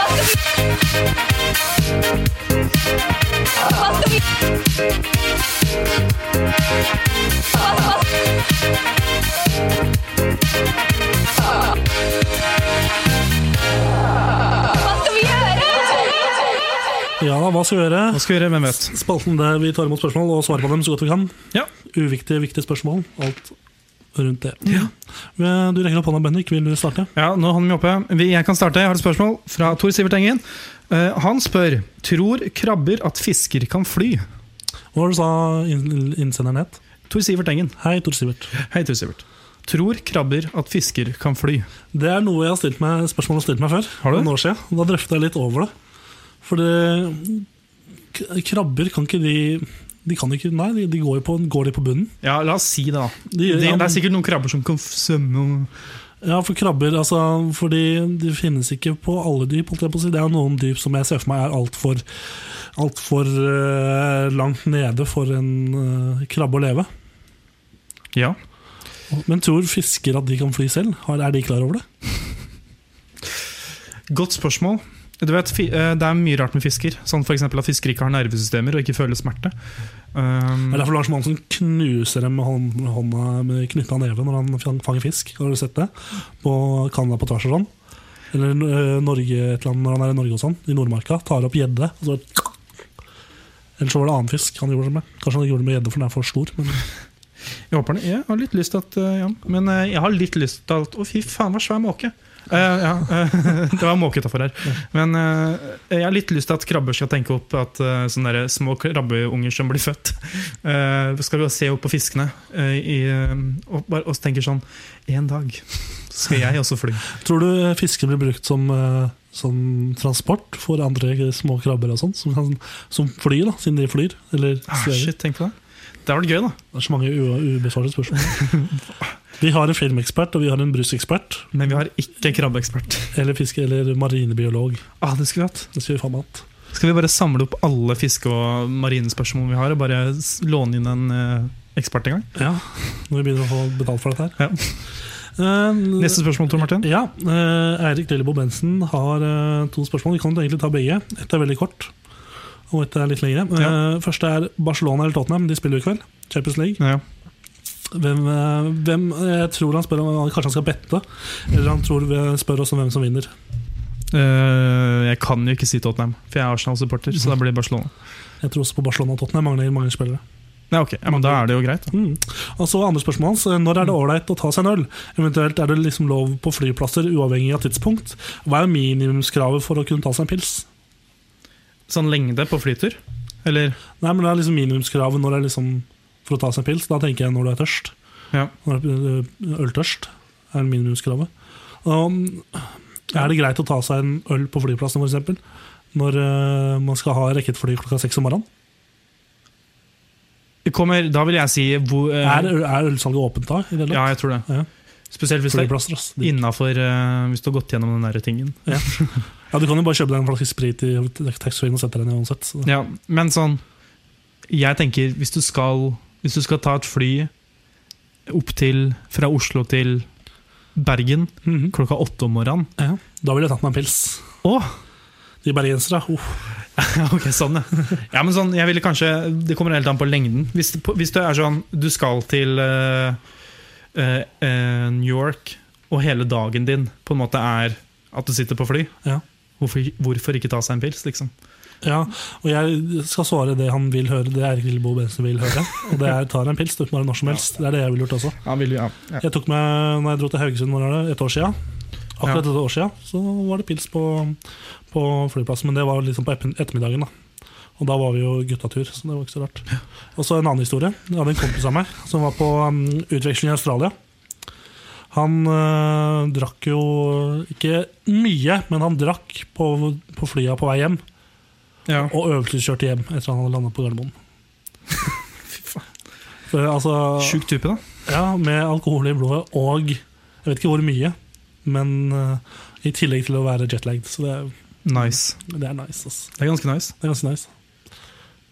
Ja da, hva skal vi gjøre? Hva skal vi gjøre? Hvem vet? Spalten der vi tar imot spørsmål og svarer på dem så godt vi kan. Ja. Uviktige, viktige spørsmål. Alt rundt det. Men Du rekker opp hånda, Bendik. Vil du starte? Ja, nå holder vi oppe. Vi- Jeg kan starte. Jeg har et spørsmål fra Tor Sivert Engen. Eh, han spør Tror krabber at fisker kan fly. Hva var det du sa inn- innsenderen het? Tor Sivert Engen. Hei, Tor Sivert. Hei, Tor Sivert. Tror krabber at fisker kan fly? Det er noe jeg har stilt meg, spørsmål jeg har stilt meg før. Har du? for Noen år siden. og Da drøfta jeg litt over det. For det k- Krabber kan ikke de De kan ikke Nei, de, de går, jo på, går de på bunnen? Ja, la oss si det, da. De, Det, ja, det men- er sikkert noen krabber som kan f- svømme og Ja, for krabber altså, Fordi de finnes ikke på alle dyp. Holdt jeg på å si. Det er noen dyp som jeg ser for meg er altfor alt for, eh, langt nede for en eh, krabbe å leve. Ja. Men tror fisker at de kan fly selv? Har- Er de klar over det? Godt spørsmål. Du vet, fi- eh, Det er mye rart med fisker. Sånn for eksempel At fisker ikke har nervesystemer og ikke føler smerte. Um, Det er derfor Lars Monsen knuser dem med hånd- hånda med knytta neve når han fang- fanger fisk. Har du sett det? På Canada på tvers og sånn. Eller øh, Norge, et eller annet, når han er i Norge og sånn, i Nordmarka. Tar opp gjedde. og så- Eller så var det annen fisk han gjorde det med. Kanskje han gjorde det med gjedde for den er for stor. Men Jeg håper det. Jeg har litt lyst til at eh, ja. Men eh, jeg har litt lyst til at Å, fy faen, hva svær måke! Eh, ja, eh, det var en måke utafor her. Men eh, jeg har litt lyst til at krabber skal tenke opp at eh, sånne der små krabbeunger som blir født, eh, skal gå og se opp på fiskene eh, i, eh, og, bare, og tenker sånn En dag skal jeg også fly. tror du fisker blir brukt som, øh, som transport for andre små krabber og sånn? Som, kan- som flyr, da, siden de flyr. Eller Ah, svever. shit, tenk på det. Det har vært gøy, da. Det er så mange u- ubesvarte spørsmål. Vi har en filmekspert og vi har en brusekspert. Men vi har ikke krabbeekspert. Eller fiske, eller marinebiolog. Ah, det skulle vi hatt. Det skal vi faen meg hatt. Skal vi bare samle opp alle fiske- og marinespørsmål vi har, og bare s- låne inn en eh, ekspert en gang? Ja, når vi begynner å få betalt for dette her. Eh, Neste spørsmål, Tor Martin. Ja, eh, Eirik Lillebo Bensen har eh, to spørsmål. Vi kan egentlig ta begge. Ett er veldig kort, og ett er litt lengre. Eh, Første er Barcelona eller Tottenham. De spiller jo i kveld. Champions League. Ja. Hvem, eh, hvem Jeg tror han spør om eh, Kanskje han skal bette? Eller han tror vi spør oss om hvem som vinner. Eh, jeg kan jo ikke si Tottenham, for jeg er Arsenal-supporter. Så da blir det Barcelona. Jeg tror også på Barcelona og Tottenham. Mangler mange spillere. Nei, ok, ja, men Da er det jo greit. Da. Mm. Og så andre spørsmål hans. Når er det ålreit å ta seg en øl? Eventuelt er det liksom lov på flyplasser uavhengig av tidspunkt? Hva er minimumskravet for å kunne ta seg en pils? Sånn lengde på flytur? Eller Nei, men det er liksom minimumskravet når det er liksom for å ta seg en pils. Da tenker jeg når du er tørst. Ja. Når du er øh, øltørst er minimumskravet. Um, er det greit å ta seg en øl på flyplassen, f.eks.? Når øh, man skal ha rekket fly klokka seks om morgenen? kommer, Da vil jeg si hvor eh, Er, er ølsalget åpent da? I det hele Ja, tatt? jeg tror det. Ja. Spesielt hvis det er Flyplasser, ass. De- innafor eh, Hvis du har gått gjennom den der tingen. Ja, du kan jo bare kjøpe deg en flaske sprit i taxfree-en og sette deg ned uansett. Så. Ja, men sånn Jeg tenker, hvis du skal Hvis du skal ta et fly Opp til, fra Oslo til Bergen Mhm. Klokka åtte om morgenen Ja, da ville jeg tatt meg en pils. Åh, De bergensere. uff. ja, ok, sånn ja Ja, men sånn, jeg ville kanskje Det kommer helt an på lengden Hvis, det- på- hvis det er sånn, du skal til eh, eh, eh, New York Og hele dagen din På en måte er at du sitter på fly Ja. Hvorfor, hvorfor ikke ta seg en pils, liksom? ja, og jeg skal svare det han vil høre, det Erik Lilleboe Bensen vil høre. Og det er tar en pils, det kan være når som helst. Det er det jeg ville gjort også. Ja, vil, ja. Jeg tok meg, når jeg dro til Haugesund når var det, et år siden, akkurat et år siden, så var det pils på, på flyplassen. Men det var liksom på etten- ettermiddagen, da. Og da var vi jo guttatur, så det var ikke så rart. Og så en annen historie. Jeg hadde en kompis av meg som var på um, utveksling i Australia. Han øh, drakk jo ikke mye, men han drakk på, på flya på vei hjem. Ja. Og øvelseskjørte hjem etter han hadde landa på Gardermoen. Fy faen. Altså, Sjuk type da ja, med alkohol i blodet og jeg vet ikke hvor mye, men eh, i tillegg til å være jetlagd. Så det er, Nice, det er nice. Ass. det er ganske nice Det er ganske nice.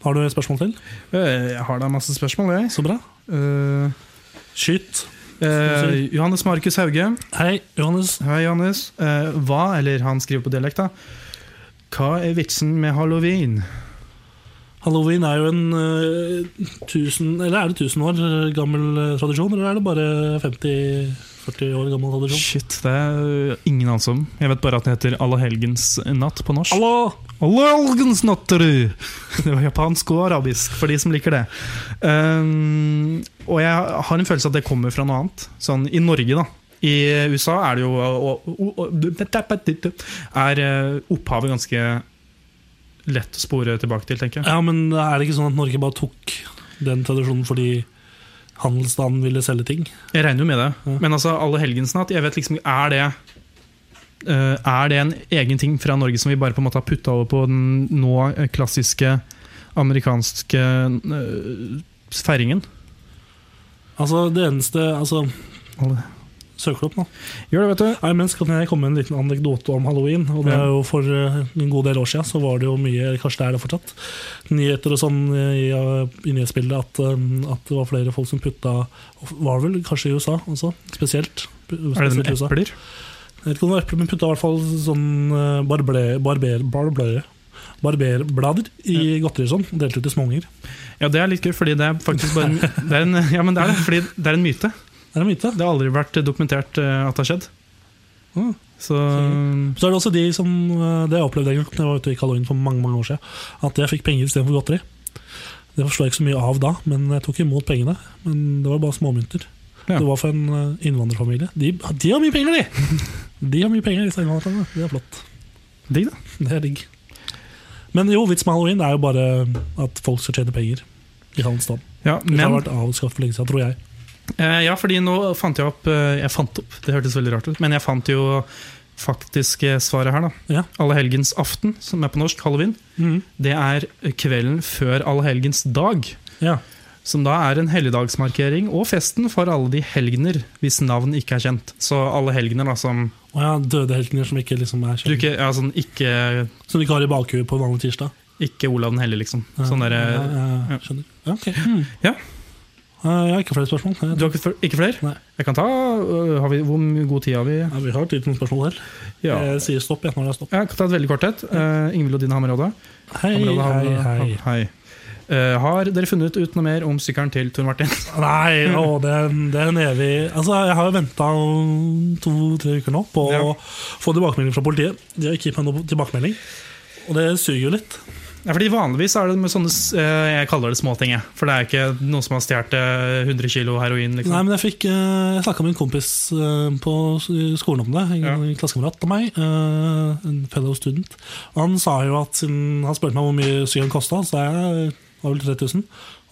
Har du et spørsmål til? Eh, Jeg har da masse spørsmål, jeg. Så bra. Eh, Skyt. eh, Johannes Markus Hauge. Hei, Johannes. Hei, Johannes. Eh, hva, eller han skriver på dialekt, da. Hva er vitsen med halloween? Halloween er jo en eh, tusen, eller er det 1000 år eh, gammel eh, tradisjon, eller er det bare 50-40 år gammel tradisjon? Shit, det er øh, ingen anelse om. Jeg vet bare at det heter Allehelgens natt på norsk. Hallo! Allehelgens nattru! Det var japansk og arabisk, for de som liker det. Um, og jeg har en følelse at det kommer fra noe annet. Sånn i Norge, da. I USA er det jo og, og, og, Er eh, opphavet ganske lett å spore tilbake til, tenker jeg. Ja, men er det ikke sånn at Norge bare tok den tradisjonen fordi handelsstanden ville selge ting? Jeg regner jo med det. Ja. Men altså, alle helgens natt, jeg vet liksom Er det eh, er det en egen ting fra Norge som vi bare på en måte har putta over på den nå eh, klassiske amerikanske eh, feiringen? Altså, det eneste altså, søker det opp nå. Gjør det, vet du. Nei, men skal jeg komme med en liten anekdote om halloween? Og det er jo For eh, en god del år siden så var det jo mye eller kanskje det er det fortsatt, nyheter og sånn eh, i, eh, i nyhetsbildet at, eh, at det var flere folk som putta Var vel kanskje i USA også, spesielt. Er det spesielt med i USA. epler? Jeg vet ikke om det var epler, men putta i hvert fall sånn eh, barble, barber, barblere. Barberblader i godteri og sånn. og Delte ut til småunger. Ja, det er litt gøy, fordi det er faktisk bare en, det er en, Ja, men det er det, fordi det er en myte. Det er en myte. Det har aldri vært dokumentert eh, at det har skjedd. Ah. Så Så er det også de som eh, Det jeg opplevde en gang da jeg var ute i halloween for mange mange år siden, at jeg fikk penger istedenfor godteri. Det forstår jeg ikke så mye av da, men jeg tok imot pengene. Men det var bare småmynter. Ja. Det var for en eh, innvandrerfamilie. De, de har mye penger, de! De har mye penger, disse innvandrerne. Det er flott. digg, da. Det er digg. Men jo, vits med halloween er jo bare at folk skal tjene penger. I hans stand. Ja, Det har men vært avskaffet for lenge siden, tror jeg. Eh, Ja, fordi nå fant jeg opp eh, Jeg fant opp, det hørtes veldig rart ut, men jeg fant jo faktisk eh, svaret her, da. Ja. Allehelgens aften, som er på norsk, halloween, det er kvelden før allehelgens dag. Ja. Som da er en helligdagsmarkering og festen for alle de helgener hvis navn ikke er kjent. Så alle helgener da som Og ja, døde helgener som ikke liksom er du kjent. ikke, ja, sånn, ikke, Som du ikke har i bakhuet på en vanlig tirsdag. ikke Olav den hellige, liksom. Ja, Sånn derre ja, ja, ja. Mm. ja, Skjønner. Ja, ok. Ja. Eh, Jeg har ikke flere spørsmål. Jeg Du har ikke, fl- ikke flere? Nei. Jeg kan ta øh, har vi, Hvor mye god tid har vi? Ja, vi har tid til noen spørsmål her. Ja. Jeg sier stopp jeg, når det er stopp. Jeg kan ta et veldig kort et. Uh, Ingvild og Dine Hammerrådet. Hei, Hammerrådet, hei, Hammerrådet, hei. Ham- hei. Eh, har dere funnet ut noe mer om sykkelen til Tor Martin? Nei, å, det, er en, det er en evig Altså, Jeg har jo venta to-tre uker nå på Ja. å få tilbakemelding fra politiet. De har ikke gitt meg noen tilbakemelding, og det suger jo litt. Ja, fordi Vanligvis er det med sånne s- eh, Jeg kaller det småting. jeg. For det er ikke noen som har stjålet eh, 100 kg heroin. liksom Nei, men Jeg fikk, eh, jeg snakka med en kompis eh, på s- skolen om det. En Ja. en klassekamerat av meg. eh, En fellow student. Og han sa jo at siden han spurte meg hvor mye sykkelen kosta, så jeg det var vel 3000.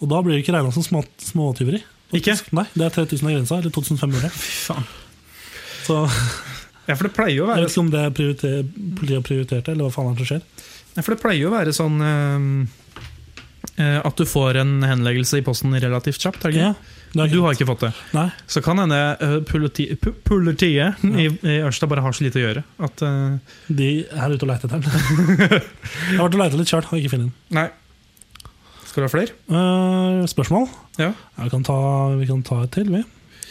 Og da blir det ikke regna som små- småtyveri. Ikke? faktisk. Nei, det er 3000 av grensa, eller 2500. faen. Så Ja, for det pleier jo å jeg være, vet ikke om det er prioriter- politiet har prioritert det, eller hva faen er det som skjer. ja, for det pleier jo å være sånn eh, eh, at du får en henleggelse i posten relativt kjapt. er det ikke? Ja, det er Du ikke, har ikke fått det. nei, Så kan hende eh, politi- pu- politiet i, i Ørsta bare har så lite å gjøre at eh, de er ute og leter etter den. jeg har vært og leita litt sjøl, har ikke funnet den. Nei. Skal du ha flere? Eh, spørsmål? Ja. Ja, vi, kan ta, vi kan ta et til, vi.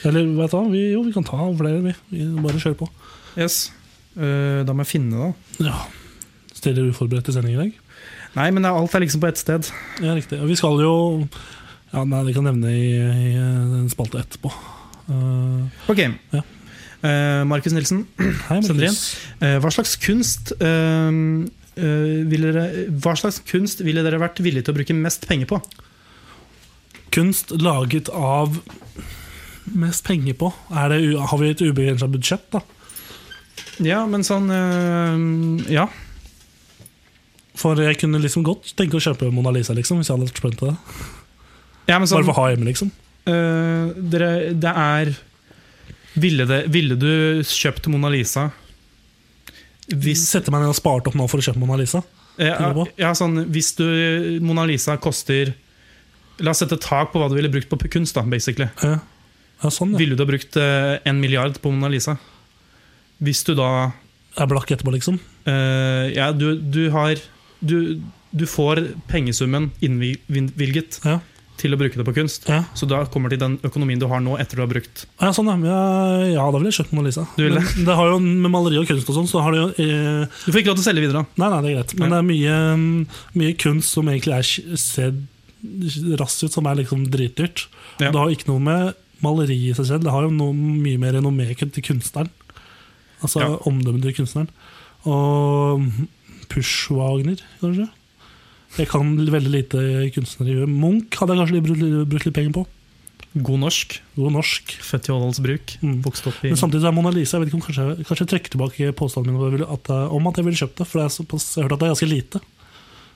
Eller vet du hva, vi, jo, vi kan ta flere, vi. vi bare kjør på. Yes. Eh, da må jeg finne, da. Ja. Stiller uforberedt til sending i dag? Nei, men det er- alt er liksom på ett sted. Ja, riktig. Og vi skal jo ja, Nei, vi kan nevne i, i en spalte etterpå. Eh, Ok. Ja. Eh, Markus Nilsen, hei, Sender Markus. eh, hva slags kunst eh, eh, ville dere, Hva slags kunst ville dere vært villige til å bruke mest penger på? Kunst laget av mest penger på. Er det, u- har vi et ubegrensa budsjett, da? Ja, men sånn eh, Ja. For jeg kunne liksom godt tenke å kjøpe Mona Lisa, liksom, hvis jeg hadde vært spent til det. ja men Bare sånn for å ha hjemme, liksom. eh, dere, Det er ville, det, ville du kjøpt Mona Lisa hvis Sette meg ned og sparte opp nå for å kjøpe Mona Lisa. Ja, Tenker du på? ja, sånn, hvis du Mona Lisa koster La oss sette tak på hva du ville brukt på kunst. da, basically. Ja, ja sånn, ja. Ville du ha brukt eh, en milliard på Mona Lisa? Hvis du da Jeg er blakk etterpå, liksom. eh, Ja, du, du har du, du får pengesummen innvilget Ja. til å bruke det på kunst. Ja, Så da kommer det til den økonomien du har nå etter du har brukt. ja sånn, ja. Men jeg- ja, da ville jeg kjøpt Mona Lisa. Du ville? Men det har jo med maleri og kunst og sånn, så har det jo eh, Du får ikke lov til å selge videre. da. Nei, nei, det er greit. Men Ja. det er mye, mm, mye kunst som egentlig er, kj- ser raskt ut, som er liksom dritdyrt. Ja. Det har ikke noe med maleri i seg selv, det har jo noe mye mer renommé til kunstneren. Altså Ja. omdømmet til kunstneren. Og mm, Push-Wagner, kanskje. Jeg kan veldig lite kunstner i huet. Munch hadde jeg kanskje litt brukt, brukt litt penger på. God norsk. God norsk. Født i Årdals bruk. Mm. Vokst opp i Men samtidig så er Mona Lisa Jeg vet ikke om kanskje, kanskje jeg trekker tilbake påstanden min om at jeg ville- at jeg- om at jeg ville kjøpt det. For det er såpass, jeg har hørt at det er ganske lite.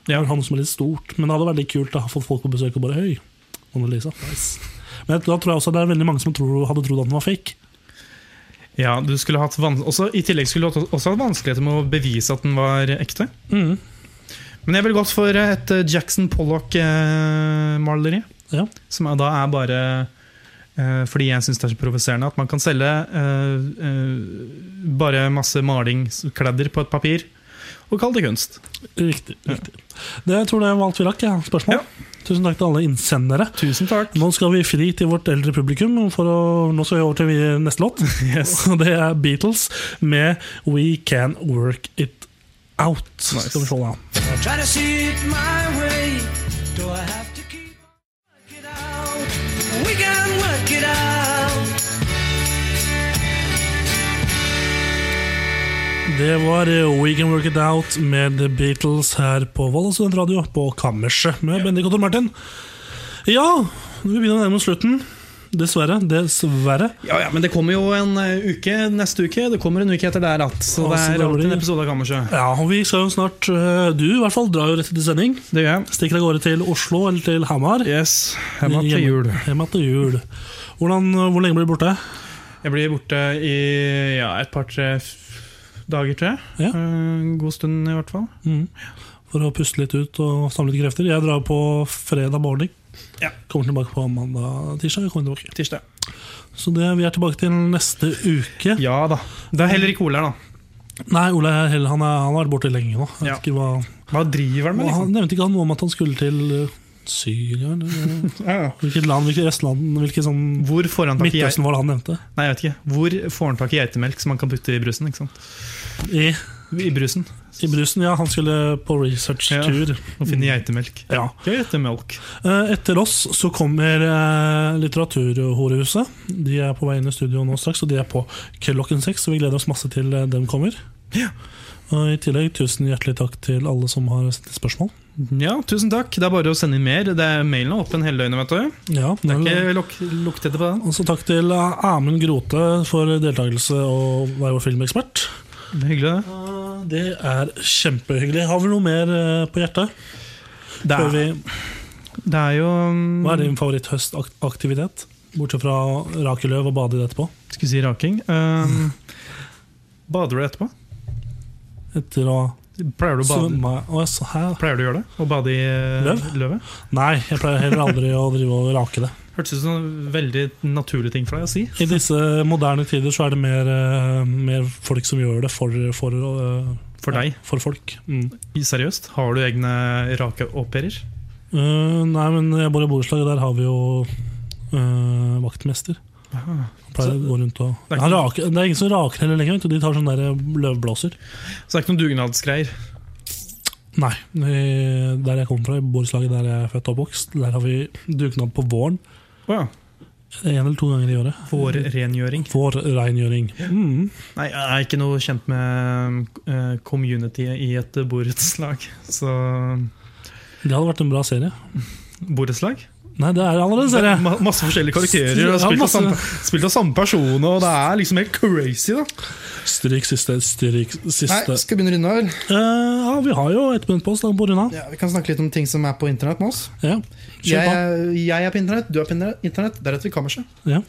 Jeg vil ha noe som er litt stort. Men det hadde vært litt kult da, å ha fått folk på besøk og bare Høy, Mona Lisa. Nice. Men da tror jeg også det er veldig mange som tror, hadde trodd at den var fake. Ja, du skulle hatt vans også, I tillegg skulle du hatt- også hatt vanskeligheter med å bevise at den var ekte. Men jeg ville gått for et eh, Jackson Pollock-maleri. Ja. Som er, da er bare Eh, Fordi jeg syns det er så provoserende at man kan selge eh, eh, bare masse malingskledder på et papir og kalle det kunst. Riktig. riktig. Det tror jeg var alt vi rakk. Ja. Spørsmål? Tusen takk til alle innsendere. Tusen takk. Nå skal vi fri til vårt eldre publikum. For å, nå skal vi over til vi- neste låt. Og Det er Beatles med We Can Work It Out. Skal vi se da. We can work it out. Det var eh, We Can Work It Out med The Beatles her på Volda Studentradio på Kammerset med Bendik og Tor Martin. Ja, vi begynner å nærme oss slutten. Dessverre. Dessverre. Ja, ja, Men det kommer jo en eh, uke neste uke. Det kommer en uke etter der igjen. Så Og det så er da blir alltid en det- episode av Kammersjø. Ja, og vi skal jo snart eh, Du i hvert fall drar jo rett til sending. Det gjør jeg. Stikker av gårde til Oslo eller til Hamar. Yes. Hjemme til Hjemme- jul. Hjemme til jul. Hvordan, eh, hvor lenge blir du borte? Jeg blir borte i ja, et par-tre dager, tror jeg. Ja. Eh, En god stund, i hvert fall. For å puste litt ut og samle litt krefter. Jeg drar på fredag morgen. Ja. Kommer tilbake på mandag-tirsdag. Tirsdag. Så det, vi er tilbake til neste uke. Ja da. Det er heller ikke Ole her, da. Nei, Ole Hell han, er, han har vært borte lenge nå. Jeg vet Ja. ikke hva, Hva driver han med, og han liksom? nevnte ikke han noe om at han skulle til eh, Syria? eller- Ja, ja. Hvilket land, hvilket østland, hvilket sånn Hvor får han tak i Midtøsten var det han nevnte. Nei, jeg vet ikke. Hvor får han tak i geitemelk som han kan putte i brusen? ikke sant? I, I brusen. I brusen, ja. Han skulle på researchtur. Og finne geitemelk. Ja. Geitemelk. Eh, Etter oss så kommer eh, Litteraturhorehuset. De er på vei inn i studio nå straks, og de er på klokken seks. Så vi gleder oss masse til eh, dem kommer. Og I tillegg tusen hjertelig takk til alle som har sendt inn spørsmål. Ja, tusen takk. Det er bare å sende inn mer. Det er Mailen er åpen hele døgnet, vet du. Ja, Det er ikke luk luktete på den. Og så takk til Amund Grote for deltakelse og være vår filmekspert. Det er hyggelig, det. Det er kjempehyggelig. Har vi noe mer eh, på hjertet? Det er, Før vi, det er jo mm, hva er din favoritthøstaktivitet? Bortsett fra rake løv og bade i det etterpå. Skulle si raking. Um, bader du etterpå? Etter å Pleier du å bade? svømme Å, jeg sa- hæ? Pleier du å gjøre det? Å bade i eh, Løv? løvet? Nei, jeg pleier heller aldri å drive og rake det. Hørtes ut som en veldig naturlig ting for deg å si. I disse moderne tider så er det mer, eh, mer folk som gjør det for, for, eh, For deg. Ja, for folk. Mm. Seriøst, har du egne rakeoperer? Eh, nei, men jeg bor i borettslag, og der har vi jo eh, vaktmester. Han pleier å gå rundt og er ikke- Han raker, Det er ingen som raker heller lenger. vet du. De tar sånn der løvblåser. Så det er ikke noen dugnadsgreier? Nei. eh, Der jeg kommer fra, i borettslaget der jeg er født og oppvokst, der har vi dugnad på våren. Å ja. Én eller to ganger i året. Vårrengjøring. Vårreingjøring. Mm. Nei, jeg er ikke noe kjent med eh, communityet i et borettslag. Så Det hadde vært en bra serie. Borettslag? Nei, det er allerede en serie! Ma masse forskjellige karakterer. Og Ja, spilt, masse. av samme, spilt av samme person, og det er liksom helt crazy, da. Stryk siste, stryk siste. skal vi begynne å runde av, vel? Eh, ja, vi har jo ett minutt på oss. Da, på å runde av. Ja, vi kan snakke litt om ting som er på internett med oss. Ja. Kjør på. er på internett, du er på internett. Der heter vi Kammerset. Ja.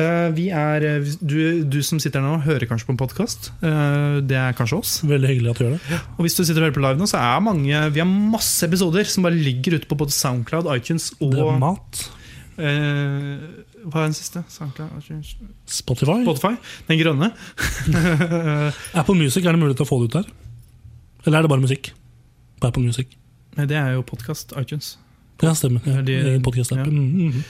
Eh, vi er, eh, du, du som sitter her nå, hører kanskje på en podkast. det er kanskje oss. Veldig hyggelig at du gjør det. Og hvis du sitter og hører på live nå, så er mange, vi har masse episoder som bare ligger ute på både Soundcloud, iTunes og Det er mat. eh, Hva er den siste? Soundcloud, iTunes, Spotify. Spotify? Den grønne? Apple Music, er det mulig til å få det ut der? Eller er det bare musikk? På Apple Music. Nei, det er jo podkast. iTunes. Ja, stemmer. Ja, Er de- podcast-appen. ja. Mm, mm, mm.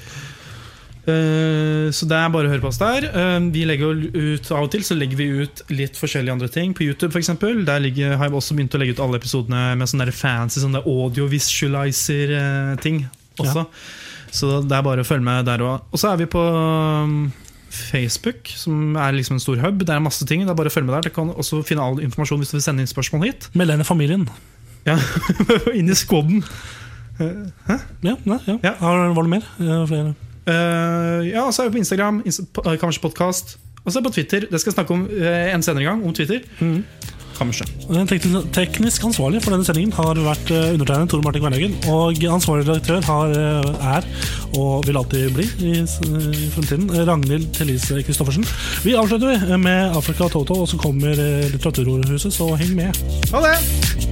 Eh, så det er bare å høre på oss der. Eh, vi legger jo ut Av og til så legger vi ut litt forskjellige andre ting. På YouTube for eksempel, Der ligger, har jeg også begynt å legge ut alle episodene med sånne der fancy sånne audio-visualizer-ting også. Så det er bare å følge med der òg. Og så er vi på um, Facebook, som er liksom en stor hub. Det er masse ting. Det er bare å følge med der. Du kan også finne all informasjon hvis du vil sende inn spørsmål hit. Meld deg inn i familien. Ja, Inn i squaden. Ja, nei, ja. Ja. Har, var det mer? Ja, flere. Eh, ja, og så er vi på Instagram, Insta po- eh, Kammerset Podcast. Og så er vi på Twitter. Det skal jeg snakke om eh, en senere gang, om Twitter. Kammerset. Den teknisk, teknisk ansvarlig for denne sendingen har vært eh, undertegnet Tor Martin Kvernhaugen. Og ansvarlig redaktør har, eh, er, og vil alltid bli i, s- i fremtiden, eh, Ragnhild Thelise Christoffersen. Vi eh, avslutter vi med Afrika og Toto, og så kommer eh, Litteraturhuset, så heng med. Ha det!